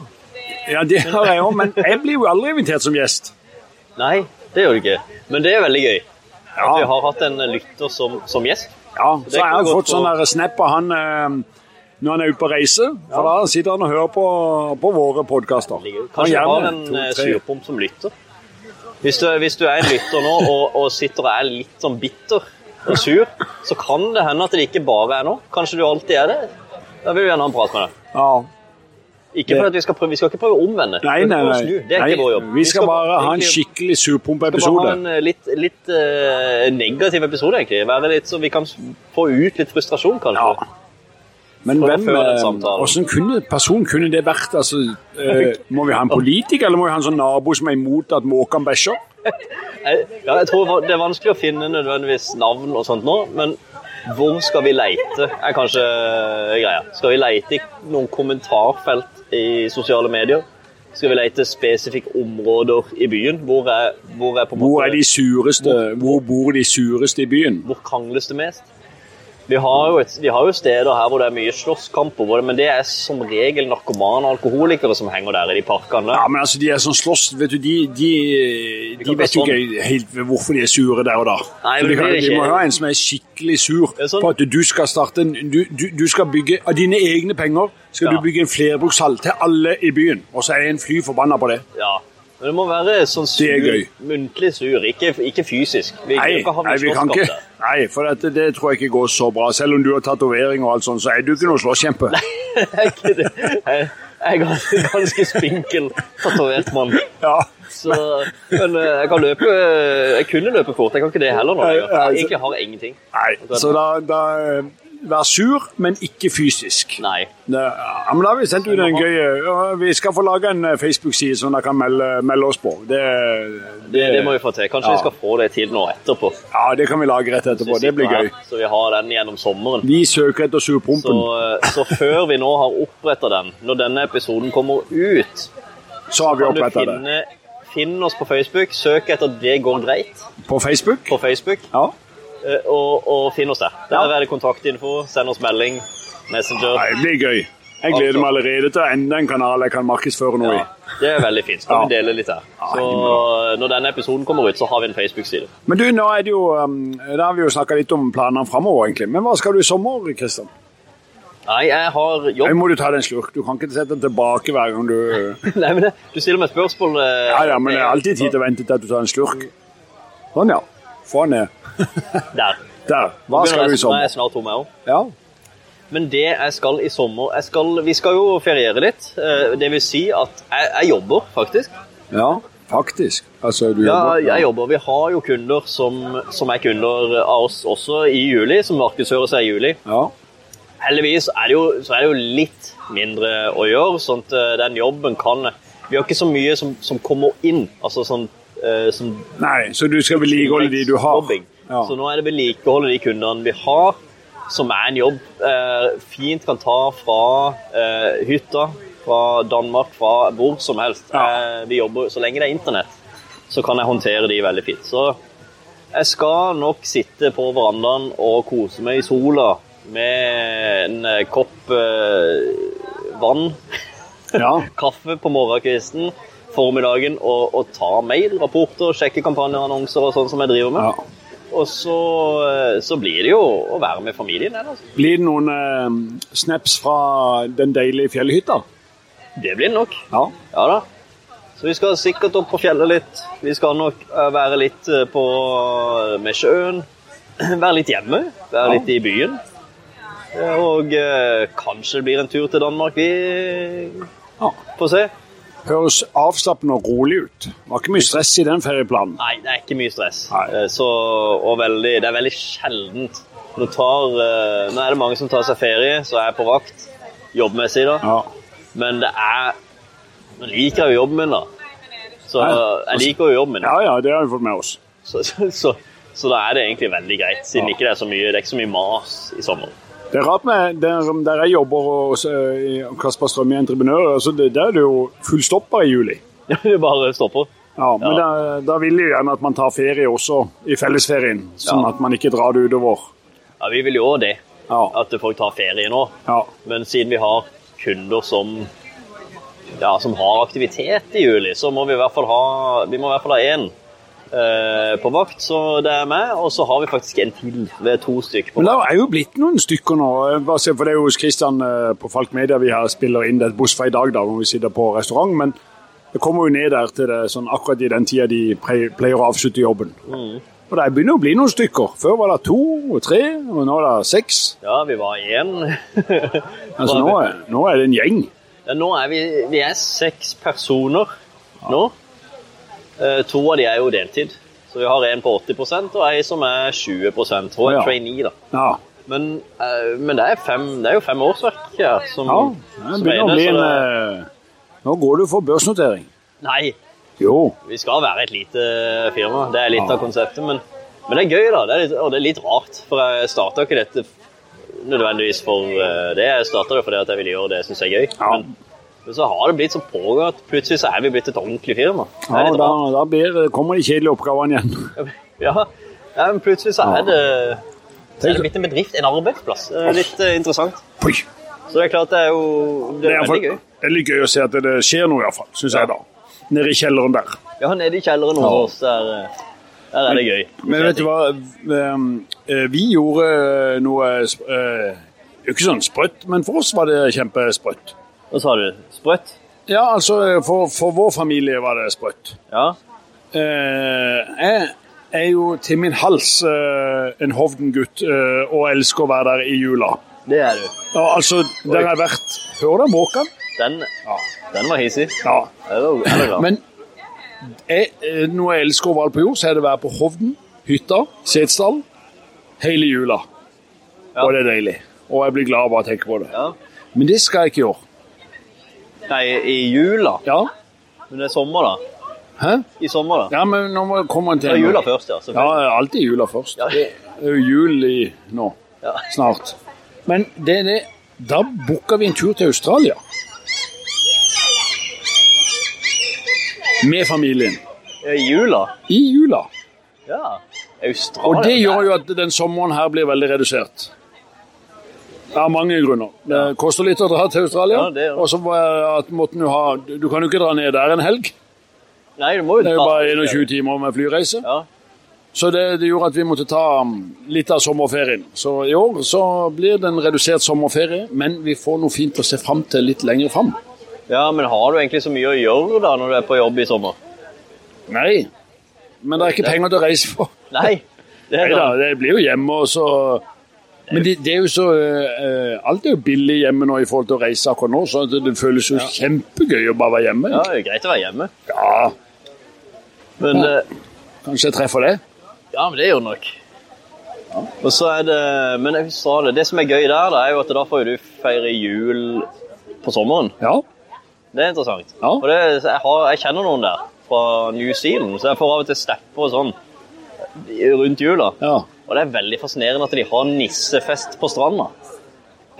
[SPEAKER 2] Ja, det har jeg òg, men jeg blir jo aldri invitert som gjest.
[SPEAKER 1] Nei, det gjør du ikke. Men det er veldig gøy.
[SPEAKER 2] Ja,
[SPEAKER 1] Vi har hatt en lytter som, som gjest.
[SPEAKER 2] ja. Så jeg har
[SPEAKER 1] godt
[SPEAKER 2] fått sånn
[SPEAKER 1] å-
[SPEAKER 2] der snap av han eh, når han er ute på reise. For da sitter han og hører på, på våre podkaster.
[SPEAKER 1] Kanskje vi har en eh, surpomp som lytter. Hvis du, hvis du er en lytter nå og, og sitter og er litt sånn bitter og sur, så kan det hende at det ikke bare er nå. Kanskje du alltid er det. Da vil vi gjerne ha en prat med deg.
[SPEAKER 2] Ja.
[SPEAKER 1] Ikke for at Vi skal prøve, vi skal ikke prøve å omvende.
[SPEAKER 2] Nei,
[SPEAKER 1] Vi skal
[SPEAKER 2] nei,
[SPEAKER 1] prøve å
[SPEAKER 2] nei.
[SPEAKER 1] snu. Det er
[SPEAKER 2] nei.
[SPEAKER 1] ikke vår jobb.
[SPEAKER 2] Vi skal bare ha en
[SPEAKER 1] egentlig-
[SPEAKER 2] skikkelig
[SPEAKER 1] vi skal bare ha
[SPEAKER 2] surpompeepisode.
[SPEAKER 1] en eh, litt, litt eh, negativ episode, egentlig. Være litt, så vi kan s- få ut litt frustrasjon, kanskje.
[SPEAKER 2] Ja. Men
[SPEAKER 1] For å
[SPEAKER 2] hvem,
[SPEAKER 1] føre den
[SPEAKER 2] eh,
[SPEAKER 1] samtalen.
[SPEAKER 2] hvordan kunne, person kunne det vært? Altså, eh, må vi ha en politiker, eller må vi ha en sånn nabo som er imot at måkene bæsjer?
[SPEAKER 1] Jeg, ja, jeg tror va- Det er vanskelig å finne nødvendigvis navn og sånt nå, men hvor skal vi leite, er kanskje greia. Skal vi leite i noen kommentarfelt i sosiale medier? Skal vi leite spesifikke områder i byen? Hvor er, hvor er på en
[SPEAKER 2] Hvor er
[SPEAKER 1] måte-
[SPEAKER 2] de sureste? Hvor bor de sureste i byen?
[SPEAKER 1] hvor krangles det mest? Vi har, jo et, vi har jo steder her hvor det er mye slåsskamper, hvor det- men det er som regel narkomane og alkoholikere som henger der i de parkene.
[SPEAKER 2] Ja, men altså, De er sånn slåss Vet du, De, de, de
[SPEAKER 1] kan
[SPEAKER 2] vet jo
[SPEAKER 1] ta
[SPEAKER 2] ikke helt hvorfor de er sure der og da.
[SPEAKER 1] Nei,
[SPEAKER 2] Så
[SPEAKER 1] men
[SPEAKER 2] de,
[SPEAKER 1] det
[SPEAKER 2] kan,
[SPEAKER 1] blir
[SPEAKER 2] de
[SPEAKER 1] ikke-
[SPEAKER 2] må ha en som er skikkelig sur
[SPEAKER 1] er sånn-
[SPEAKER 2] på at du skal starte en, du, du, du skal bygge Av dine egne penger skal du
[SPEAKER 1] Ja.
[SPEAKER 2] bygge en flerbrukshall til alle i byen, og så er en fly forbanna på det.
[SPEAKER 1] Ja. Men det må være sånn sur,
[SPEAKER 2] Det er gøy.
[SPEAKER 1] muntlig sur, ikke, ikke fysisk. Vi kan
[SPEAKER 2] Nei,
[SPEAKER 1] ikke havne
[SPEAKER 2] nei,
[SPEAKER 1] i
[SPEAKER 2] vi kan
[SPEAKER 1] slåsskamp
[SPEAKER 2] ikke.
[SPEAKER 1] der.
[SPEAKER 2] Nei, for dette, det tror jeg ikke går så bra. Selv om du har tatovering og alt sånt, så er du ikke noen slåsskjempe.
[SPEAKER 1] Det er ikke det. Jeg jeg er ganske, ganske spinkel tatovert mann.
[SPEAKER 2] Ja.
[SPEAKER 1] Så, men eh, jeg kan løpe eh, Jeg kunne løpe fort, jeg kan ikke det heller nå. lenger.
[SPEAKER 2] Nei, nei,
[SPEAKER 1] Jeg egentlig har jeg ingenting.
[SPEAKER 2] Nei, så da, da eh, Vær sur, men ikke fysisk.
[SPEAKER 1] Nei.
[SPEAKER 2] Det, ja, men da har vi sendt ut en gøy ja, Vi skal få lage en eh, Facebook-side som dere kan melde, melde oss på. Det,
[SPEAKER 1] Det, det må vi få til. Kanskje
[SPEAKER 2] Ja.
[SPEAKER 1] vi skal få det til nå etterpå. Så
[SPEAKER 2] ja, det kan vi lage rett
[SPEAKER 1] vi
[SPEAKER 2] etterpå. Det blir
[SPEAKER 1] sitter
[SPEAKER 2] gøy.
[SPEAKER 1] her, Så vi har den gjennom sommeren.
[SPEAKER 2] Vi søker etter
[SPEAKER 1] Så,
[SPEAKER 2] surpompen,
[SPEAKER 1] eh, så før vi nå har oppretta den, når denne episoden kommer ut,
[SPEAKER 2] så har vi
[SPEAKER 1] kan du
[SPEAKER 2] oppretta det.
[SPEAKER 1] finne Finn oss på Facebook. Søk etter 'Det går greit'
[SPEAKER 2] På Facebook?
[SPEAKER 1] på Facebook,
[SPEAKER 2] Ja.
[SPEAKER 1] eh, og, og finn oss der.
[SPEAKER 2] Ja.
[SPEAKER 1] Der er det kontaktinfo. Send oss melding. Messenger.
[SPEAKER 2] Nei, det blir gøy. Jeg gleder meg allerede til enda en kanal jeg kan markedsføre noe i.
[SPEAKER 1] Altså- Ja, det er veldig fint. Så kan
[SPEAKER 2] Ja.
[SPEAKER 1] vi dele litt her. Så når denne episoden kommer ut, så har vi en Facebook-side.
[SPEAKER 2] Men du, nå er det jo, um, da har vi jo snakka litt om planene framover, egentlig. Men hva skal du i sommer, Kristian?
[SPEAKER 1] Nei, jeg har jobb.
[SPEAKER 2] Nå må du ta deg en slurk. Du kan ikke sette den tilbake hver gang du
[SPEAKER 1] Nei, men det- du stiller meg et spørsmål. eh,
[SPEAKER 2] Ja, ja, men det er alltid tid til å vente til at du tar en slurk.
[SPEAKER 1] Mm.
[SPEAKER 2] Sånn, ja. Få den ned.
[SPEAKER 1] Der.
[SPEAKER 2] Der. Hva
[SPEAKER 1] Nå
[SPEAKER 2] skal
[SPEAKER 1] er
[SPEAKER 2] du
[SPEAKER 1] jeg-
[SPEAKER 2] i
[SPEAKER 1] Nå er
[SPEAKER 2] sommer?
[SPEAKER 1] jeg snart tom, jeg også.
[SPEAKER 2] Ja.
[SPEAKER 1] Men det jeg skal i sommer jeg skal, Vi skal jo feriere litt. Eh, Det vil si at jeg, jeg jobber, faktisk.
[SPEAKER 2] ja. Faktisk. Altså, du
[SPEAKER 1] Ja,
[SPEAKER 2] jobber
[SPEAKER 1] jeg jobber. Vi har jo kunder som, som er kunder av oss også i juli, som markedsfører seg i juli.
[SPEAKER 2] Ja.
[SPEAKER 1] Heldigvis er det jo, så er det jo litt mindre å gjøre, sånn at eh, den jobben kan Vi har ikke så mye som, som kommer inn. altså sånn eh, som
[SPEAKER 2] Nei, så du skal vedlikeholde de du har?
[SPEAKER 1] jobbing.
[SPEAKER 2] Ja.
[SPEAKER 1] Så nå er det vedlikeholde de kundene vi har, som er en jobb eh, fint kan ta fra eh, hytta, fra Danmark, fra hvor som helst.
[SPEAKER 2] Ja.
[SPEAKER 1] Eh, vi jobber, så lenge det er internett, så kan jeg håndtere de veldig fint. Så jeg skal nok sitte på verandaen og kose meg i sola med en eh, kopp eh, vann,
[SPEAKER 2] Ja.
[SPEAKER 1] kaffe på morgenkvisten, formiddagen, og, og ta mail, rapporter, sjekke kampanjeannonser og sånn som jeg driver med.
[SPEAKER 2] ja.
[SPEAKER 1] Og så, eh, så blir det jo å være med familien. eller?
[SPEAKER 2] Blir det noen eh, snaps fra den deilige fjellhytta?
[SPEAKER 1] Det blir det nok.
[SPEAKER 2] Ja.
[SPEAKER 1] Ja da. Så vi skal sikkert opp på fjellet litt. Vi skal nok eh, være litt eh, på, med sjøen. Være litt hjemme. Være litt i byen. Eh, Og eh, kanskje det blir en tur til Danmark. Vi
[SPEAKER 2] ja.
[SPEAKER 1] får se.
[SPEAKER 2] Høres avslappende og rolig ut. Var ikke mye stress i den ferieplanen.
[SPEAKER 1] Nei, det er ikke mye stress.
[SPEAKER 2] Nei.
[SPEAKER 1] Eh, Så, og veldig, det er veldig sjeldent. Nå, tar, eh, nå er det mange som tar seg ferie, så jeg er på vakt jobbmessig. da.
[SPEAKER 2] Ja.
[SPEAKER 1] Men det er Nå liker jeg jo jobben min, da. Så
[SPEAKER 2] Ja.
[SPEAKER 1] jeg liker jo jobben min.
[SPEAKER 2] ja, ja, det har vi fått med oss.
[SPEAKER 1] Så, så, så, så da er det egentlig veldig greit, siden ikke det er så mye, det er ikke så mye mas i sommer.
[SPEAKER 2] Det er rart med der, der jeg jobber hos eh, i Kasper Strømme i Entreprenør, altså det, der er det jo full stopp bare i juli.
[SPEAKER 1] Du bare stopper.
[SPEAKER 2] Ja, men
[SPEAKER 1] Ja.
[SPEAKER 2] der- da vil jeg gjerne at man tar ferie også i fellesferien, sånn
[SPEAKER 1] Ja.
[SPEAKER 2] at man ikke drar det utover.
[SPEAKER 1] Ja, Vi vil jo òg det.
[SPEAKER 2] Ja.
[SPEAKER 1] At folk tar ferie nå.
[SPEAKER 2] ja.
[SPEAKER 1] Men siden vi har kunder som, ja, som har aktivitet i juli, så må vi i hvert fall ha vi må i hvert fall ha én eh, på vakt. Så det er meg, og så har vi faktisk en til. Det er to stykker på
[SPEAKER 2] Men
[SPEAKER 1] vakt.
[SPEAKER 2] det er jo blitt noen stykker nå. Jeg bare ser- For det er jo hos Kristian eh, på Falk Media vi her spiller inn det buss fra i dag, da, hvor vi sitter på restaurant. Men det kommer jo ned der til det sånn akkurat i den tida de pre- pleier å avslutte jobben.
[SPEAKER 1] Mm.
[SPEAKER 2] Og det begynner å bli noen stykker. Før var det to og tre, og nå er det seks.
[SPEAKER 1] Ja, vi var én.
[SPEAKER 2] Altså nå er, nå er det en gjeng.
[SPEAKER 1] Ja, nå er vi, vi er seks personer nå. Eh, to av de er jo deltid. Så vi har en på 80 og ei som er 20 Hun er
[SPEAKER 2] Ja.
[SPEAKER 1] trainee, da.
[SPEAKER 2] Ja.
[SPEAKER 1] Men, eh, men det, er fem, det er jo fem årsverk her som,
[SPEAKER 2] ja. Det
[SPEAKER 1] som er
[SPEAKER 2] begynner å
[SPEAKER 1] inne,
[SPEAKER 2] bli
[SPEAKER 1] så
[SPEAKER 2] en
[SPEAKER 1] det-
[SPEAKER 2] eh, Nå går du for børsnotering.
[SPEAKER 1] Nei,
[SPEAKER 2] Jo.
[SPEAKER 1] Vi skal være et lite firma, det er litt
[SPEAKER 2] Ja.
[SPEAKER 1] av konseptet. Men, men det er gøy, da. Det er litt, og det er litt rart, for jeg starta ikke dette nødvendigvis for eh, det. Jeg starta det fordi at jeg ville gjøre det jeg syns er gøy.
[SPEAKER 2] Ja.
[SPEAKER 1] Men, men så har det blitt så pågått at plutselig så er vi blitt et ordentlig firma. Det
[SPEAKER 2] Ja,
[SPEAKER 1] er litt
[SPEAKER 2] da,
[SPEAKER 1] rart.
[SPEAKER 2] da blir, kommer de kjedelige oppgavene igjen.
[SPEAKER 1] Ja, ja, men plutselig så er det, så er det blitt en bedrift, en arbeidsplass. Eh, Litt eh, interessant.
[SPEAKER 2] Oi.
[SPEAKER 1] Så det er klart det er jo det
[SPEAKER 2] Det
[SPEAKER 1] er
[SPEAKER 2] er,
[SPEAKER 1] veldig gøy.
[SPEAKER 2] for, det er litt gøy å se at det skjer noe, iallfall. Syns jeg, da. Nede i kjelleren der.
[SPEAKER 1] Ja, nede i kjelleren hos oss, der, eh, der er det gøy.
[SPEAKER 2] Men vet du hva? Ehm, eh, Vi gjorde noe sp- eh, det er jo ikke sånn sprøtt, men for oss var det kjempesprøtt.
[SPEAKER 1] Hva sa du? Sprøtt?
[SPEAKER 2] Ja, altså for, for vår familie var det sprøtt.
[SPEAKER 1] Ja.
[SPEAKER 2] Eh, Jeg er jo til min hals eh, en Hovden-gutt eh, og elsker å være der i jula.
[SPEAKER 1] Det er du.
[SPEAKER 2] Ja, altså, der har jeg vært Hører du måken?
[SPEAKER 1] Den, den var hissig.
[SPEAKER 2] Ja.
[SPEAKER 1] Er det- er det bra?
[SPEAKER 2] Men jeg, eh, noe jeg elsker overalt på jord, så er det å være på Hovden, hytta, Setesdal, hele jula.
[SPEAKER 1] Ja.
[SPEAKER 2] Og det er deilig. Og jeg blir glad bare av å tenke på det.
[SPEAKER 1] ja.
[SPEAKER 2] Men det skal jeg ikke gjøre.
[SPEAKER 1] Nei, i jula.
[SPEAKER 2] Ja,
[SPEAKER 1] Men det er sommer, da.
[SPEAKER 2] Hæ?
[SPEAKER 1] I sommer, da.
[SPEAKER 2] ja men nå må jeg komme til
[SPEAKER 1] Ja, jula først, ja.
[SPEAKER 2] Ja,
[SPEAKER 1] selvfølgelig.
[SPEAKER 2] alltid jula først.
[SPEAKER 1] Ja.
[SPEAKER 2] Det er jo jul i nå.
[SPEAKER 1] Ja.
[SPEAKER 2] Snart. Men det er det. Da booker vi en tur til Australia. Med familien.
[SPEAKER 1] Ja, I jula?
[SPEAKER 2] I jula.
[SPEAKER 1] Ja. Australia.
[SPEAKER 2] Og det gjør jo at den sommeren her blir veldig redusert. Det er mange grunner. Det koster litt å dra til Australia.
[SPEAKER 1] Ja, det gjør det.
[SPEAKER 2] Og så var jeg at måten du ha Du kan jo ikke dra ned der en helg.
[SPEAKER 1] Nei, du må jo
[SPEAKER 2] Det er jo
[SPEAKER 1] ta-
[SPEAKER 2] bare 21 timer med flyreise.
[SPEAKER 1] Ja.
[SPEAKER 2] Så det, det gjorde at vi måtte ta um, litt av sommerferien. Så i år så blir det en redusert sommerferie, men vi får noe fint å se fram til litt lenger fram.
[SPEAKER 1] ja, men har du egentlig så mye å gjøre da når du er på jobb i sommer?
[SPEAKER 2] Nei. Men det er ikke penger til å reise for.
[SPEAKER 1] Nei. Det
[SPEAKER 2] Nei
[SPEAKER 1] er
[SPEAKER 2] da,
[SPEAKER 1] sant.
[SPEAKER 2] det blir jo hjemme, og så Men det, det er jo så eh, eh, Alt er jo billig hjemme nå i forhold til å reise akkurat nå, så det, det føles jo kjempegøy å bare være hjemme.
[SPEAKER 1] Ja, det er jo greit å være hjemme.
[SPEAKER 2] Ja,
[SPEAKER 1] Men eh,
[SPEAKER 2] kanskje jeg treffer det.
[SPEAKER 1] Ja, men det gjør det nok. Og så er det, men jeg sa det, det som er gøy der, det er jo at da får jo du feire jul på sommeren.
[SPEAKER 2] Ja.
[SPEAKER 1] Det er interessant.
[SPEAKER 2] Ja.
[SPEAKER 1] Og det, så jeg, har, jeg kjenner noen der fra New Zealand, så jeg får av og til steppe og sånn eh, rundt jula.
[SPEAKER 2] Ja,
[SPEAKER 1] Og det er veldig fascinerende at de har nissefest på stranda.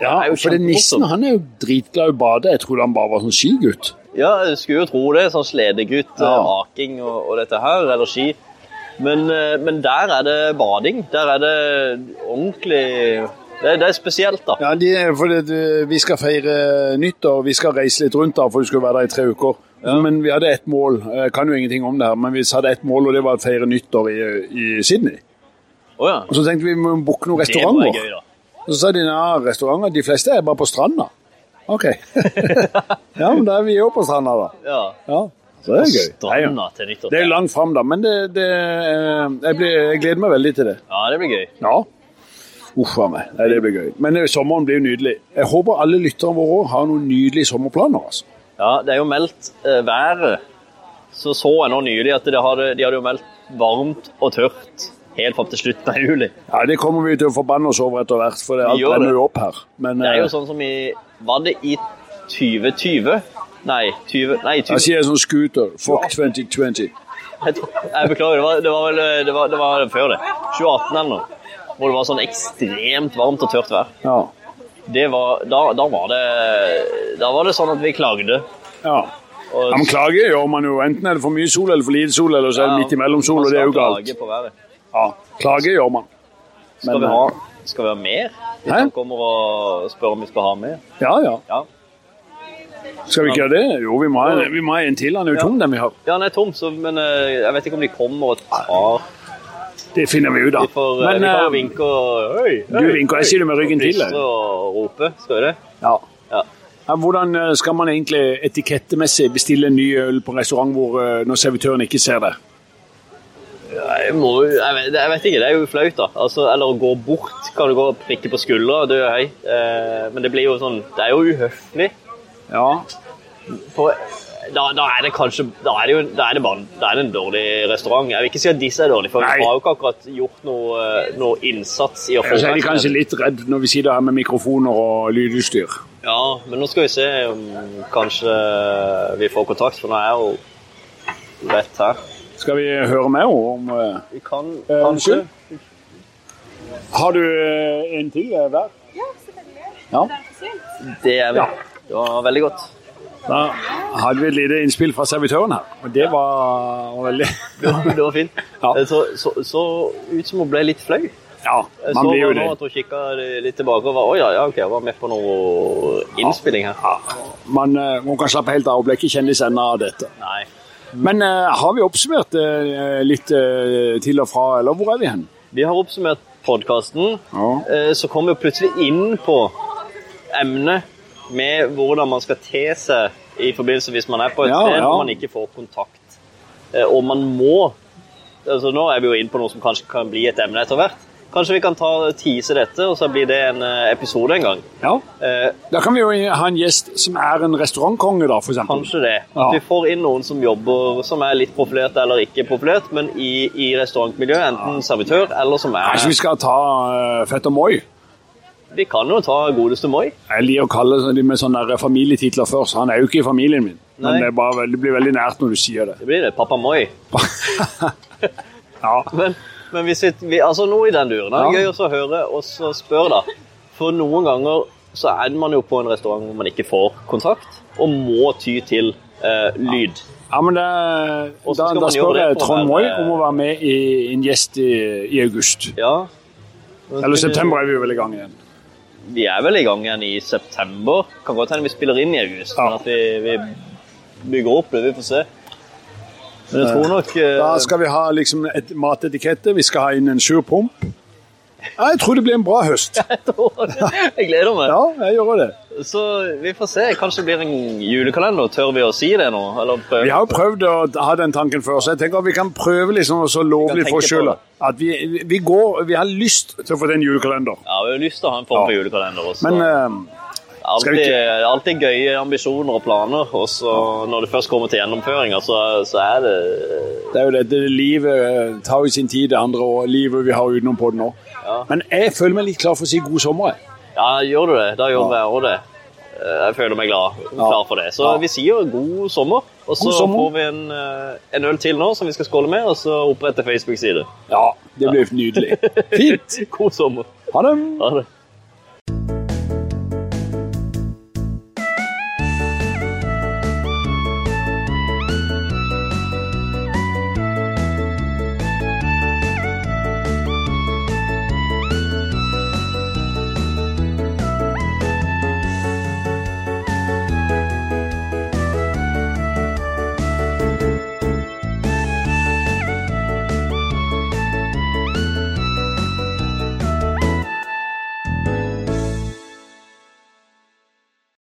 [SPEAKER 2] ja
[SPEAKER 1] Det er jo
[SPEAKER 2] for det
[SPEAKER 1] kjempemorsomt.
[SPEAKER 2] nissen han er jo dritglad i å bade. Jeg trodde han bare var sånn skigutt.
[SPEAKER 1] Ja, jeg skulle jo tro det. Sånn sledegutt,
[SPEAKER 2] Ja.
[SPEAKER 1] eh, aking og, og dette her, eller ski. Men, eh, men der er det bading. Der er det ordentlig Det, det er spesielt, da.
[SPEAKER 2] Ja, de, for det, det- vi skal feire nyttår, vi skal reise litt rundt da, for du skulle være der i tre uker. Men vi hadde ett mål, jeg kan jo ingenting om det her, men vi hadde ett mål, og det var å feire nyttår i, i Sydney.
[SPEAKER 1] Å ja.
[SPEAKER 2] Og så tenkte vi vi må booke noen
[SPEAKER 1] Det var
[SPEAKER 2] restauranter.
[SPEAKER 1] gøy, da.
[SPEAKER 2] Og så sa de ja, restauranter, de fleste er bare på stranda. Ok. ja, men da er vi jo på stranda da.
[SPEAKER 1] Ja.
[SPEAKER 2] Ja, så det er gøy. Nei, ja.
[SPEAKER 1] Stranda til nyttår.
[SPEAKER 2] Det er langt fram da, men det, det, eh, jeg, blir, jeg gleder meg veldig til det.
[SPEAKER 1] Ja, det blir gøy.
[SPEAKER 2] Ja. Uff a meg. Nei, det blir gøy. Men eh, sommeren blir jo nydelig. Jeg håper alle lytterne våre også har noen nydelige sommerplaner. altså.
[SPEAKER 1] Ja, det er jo meldt eh, været. Så så jeg nå nylig at det hadde, de hadde jo meldt varmt og tørt helt fram til slutten av juli.
[SPEAKER 2] Ja, Det kommer vi til å forbanne oss over etter hvert, for det, alt
[SPEAKER 1] gjør
[SPEAKER 2] brenner
[SPEAKER 1] det.
[SPEAKER 2] jo opp her. Men
[SPEAKER 1] Det er
[SPEAKER 2] eh,
[SPEAKER 1] jo sånn som i Var det i 2020? Nei, 20, nei 20,
[SPEAKER 2] jeg sier sånn scooter. Fuck 2020.
[SPEAKER 1] jeg, tror- jeg beklager, det var, det var vel eh, det var, det var før det. 2018 eller noe. Hvor det var sånn ekstremt varmt og tørt vær.
[SPEAKER 2] Ja.
[SPEAKER 1] Det var, da, da, var det, da var det sånn at vi klagde.
[SPEAKER 2] ja.
[SPEAKER 1] Og,
[SPEAKER 2] Ja, men Klage gjør man jo. Enten er det for mye sol eller for lite sol, eller så er det midt imellom sol, og det er jo galt.
[SPEAKER 1] Klage på været.
[SPEAKER 2] Ja, Klage gjør man.
[SPEAKER 1] Skal,
[SPEAKER 2] Men, eh,
[SPEAKER 1] vi ha, skal vi ha mer? Hvis
[SPEAKER 2] Hæ?
[SPEAKER 1] han kommer og spør om vi skal ha mer.
[SPEAKER 2] Ja, ja.
[SPEAKER 1] Ja,
[SPEAKER 2] Skal vi ikke gjøre det? Jo, vi må ha, vi må ha en til. Han er jo tom, den vi har.
[SPEAKER 1] ja han er tom, så, men eh, jeg vet ikke om de kommer og tar.
[SPEAKER 2] Det finner vi ut av.
[SPEAKER 1] Vi får, eh,
[SPEAKER 2] Men
[SPEAKER 1] vi
[SPEAKER 2] eh,
[SPEAKER 1] får vinke og Hei,
[SPEAKER 2] du vinker. Jeg sier det med ryggen til. jeg.
[SPEAKER 1] Plystre og rope, skal vi det?
[SPEAKER 2] Ja.
[SPEAKER 1] Ja.
[SPEAKER 2] Ja, Hvordan eh, skal man egentlig etikettemessig bestille en ny øl på en restaurant hvor, eh, når servitøren ikke ser det?
[SPEAKER 1] Jeg, må, jo- jeg, vet, jeg vet ikke, det er jo flaut, da. Altså, eller å gå bort. Kan du gå og prikke på skuldra og dø hei? Eh, men det blir jo sånn Det er jo uhøflig.
[SPEAKER 2] Ja,
[SPEAKER 1] For da, da er det kanskje Da er det jo da er det bare, da er det en dårlig restaurant. Jeg vil ikke si at disse er dårlige, for
[SPEAKER 2] Nei.
[SPEAKER 1] vi har jo ikke akkurat gjort noe, noe innsats i å få
[SPEAKER 2] Så er de
[SPEAKER 1] oppmerksomhet.
[SPEAKER 2] kanskje litt redd når vi sitter her med mikrofoner og lydutstyr.
[SPEAKER 1] Ja, men nå skal vi se om kanskje vi får kontakt, for nå er jeg jo rett her.
[SPEAKER 2] Skal vi høre med henne om eh,
[SPEAKER 1] Vi kan
[SPEAKER 2] Eh,
[SPEAKER 1] kanskje
[SPEAKER 2] unnskyld? Har du eh, en til eh, hver?
[SPEAKER 4] Ja, selvfølgelig.
[SPEAKER 2] Ja.
[SPEAKER 4] Det er ikke synd.
[SPEAKER 1] Det er
[SPEAKER 2] Ja.
[SPEAKER 1] det var veldig godt.
[SPEAKER 2] Da hadde vi et lite innspill fra servitøren her, og det var veldig
[SPEAKER 1] Det var, det var fint.
[SPEAKER 2] Ja.
[SPEAKER 1] Det så, så, så ut som hun ble litt flau. Jeg
[SPEAKER 2] Ja, man
[SPEAKER 1] så
[SPEAKER 2] blir jo
[SPEAKER 1] nå
[SPEAKER 2] det.
[SPEAKER 1] at hun kikka litt tilbake og var Å ja, ja, OK, jeg var med på noe innspilling her.
[SPEAKER 2] Ja, man, eh, man kan slappe helt av og bli ikke kjendis ennå av dette.
[SPEAKER 1] Nei.
[SPEAKER 2] Men eh, har vi oppsummert eh, litt eh, til og fra, eller hvor er vi hen?
[SPEAKER 1] Vi har oppsummert podkasten.
[SPEAKER 2] Ja.
[SPEAKER 1] Eh, Så kom vi plutselig inn på emnet med hvordan man skal te seg i forbindelse hvis man er på et
[SPEAKER 2] Ja,
[SPEAKER 1] sted
[SPEAKER 2] ja.
[SPEAKER 1] hvor man ikke får kontakt. Eh, Og man må altså Nå er vi jo inne på noe som kanskje kan bli et emne etter hvert. Kanskje vi kan ta tease dette, og så blir det en eh, episode en gang.
[SPEAKER 2] Ja.
[SPEAKER 1] Eh,
[SPEAKER 2] Da kan vi jo ha en gjest som er en restaurantkonge, da, for eksempel.
[SPEAKER 1] Kanskje det. At
[SPEAKER 2] Ja.
[SPEAKER 1] vi får inn noen som jobber som er litt profilert eller ikke profilert, men i, i restaurantmiljøet. Enten servitør eller som er
[SPEAKER 2] Kanskje vi skal ta eh, fetter Moi?
[SPEAKER 1] Vi kan jo ta godeste Moi.
[SPEAKER 2] Jeg liker å kalle de med sånne der familietitler først. Han er jo ikke i familien min,
[SPEAKER 1] Nei.
[SPEAKER 2] men det, er bare, veld- det blir veldig nært når du sier det.
[SPEAKER 1] Det blir det. Pappa Moi.
[SPEAKER 2] Ja,
[SPEAKER 1] Men, men vi sitter, vi, altså noe i den duren. Det er
[SPEAKER 2] Ja.
[SPEAKER 1] gøy også å høre og så spørre, da. For noen ganger så er man jo på en restaurant hvor man ikke får kontakt, og må ty til eh, lyd.
[SPEAKER 2] ja men det,
[SPEAKER 1] Og så
[SPEAKER 2] da, da
[SPEAKER 1] skal man gjøre
[SPEAKER 2] spør
[SPEAKER 1] det
[SPEAKER 2] jeg
[SPEAKER 1] på
[SPEAKER 2] Trond
[SPEAKER 1] den,
[SPEAKER 2] Moi
[SPEAKER 1] eh,
[SPEAKER 2] om å være med i en gjest i, i august.
[SPEAKER 1] Ja.
[SPEAKER 2] Eller september er vi vel i gang igjen.
[SPEAKER 1] vi er vel i gang igjen i september. Kan godt hende vi spiller inn i august,
[SPEAKER 2] Ja.
[SPEAKER 1] men at vi, vi bygger opp det. Vi får se. Men jeg tror nok eh,
[SPEAKER 2] Da skal vi ha liksom et matetikette, vi skal ha inn en surpomp. Ja, jeg tror det blir en bra høst.
[SPEAKER 1] jeg, tror det. jeg gleder meg.
[SPEAKER 2] Ja, jeg gjør det.
[SPEAKER 1] Så vi får se. Kanskje det blir en julekalender. Tør vi å si det nå? Eller prøve?
[SPEAKER 2] Vi har jo prøvd å ha den tanken før, så jeg tenker at vi kan prøve liksom å så love
[SPEAKER 1] kan
[SPEAKER 2] litt for oss
[SPEAKER 1] tenke på
[SPEAKER 2] sjøl. At vi, vi går Vi har lyst til å få den julekalender.
[SPEAKER 1] Ja, vi har lyst til å ha en form for
[SPEAKER 2] Ja.
[SPEAKER 1] julekalender også.
[SPEAKER 2] Men ehm, eh, skal vi
[SPEAKER 1] alltid, alltid gøye ambisjoner og planer, og så når det først kommer til gjennomføringa, så, så er det
[SPEAKER 2] eh, det er jo dette livet eh, tar jo sin tid, det andre og livet vi har utenom på det nå.
[SPEAKER 1] Ja.
[SPEAKER 2] Men jeg føler meg litt klar for å si god sommer. jeg.
[SPEAKER 1] Ja, gjør du det? Da gjør
[SPEAKER 2] Ja.
[SPEAKER 1] jeg òg det. Eh, Jeg føler meg glad, klar for det. Så
[SPEAKER 2] Ja.
[SPEAKER 1] vi sier god sommer. Og så
[SPEAKER 2] God sommer.
[SPEAKER 1] får vi en, eh, en øl til nå som vi skal skåle med, og så opprette Facebook-side.
[SPEAKER 2] Ja, det blir nydelig. Fint.
[SPEAKER 1] God sommer.
[SPEAKER 2] Ha det.
[SPEAKER 1] Ha det.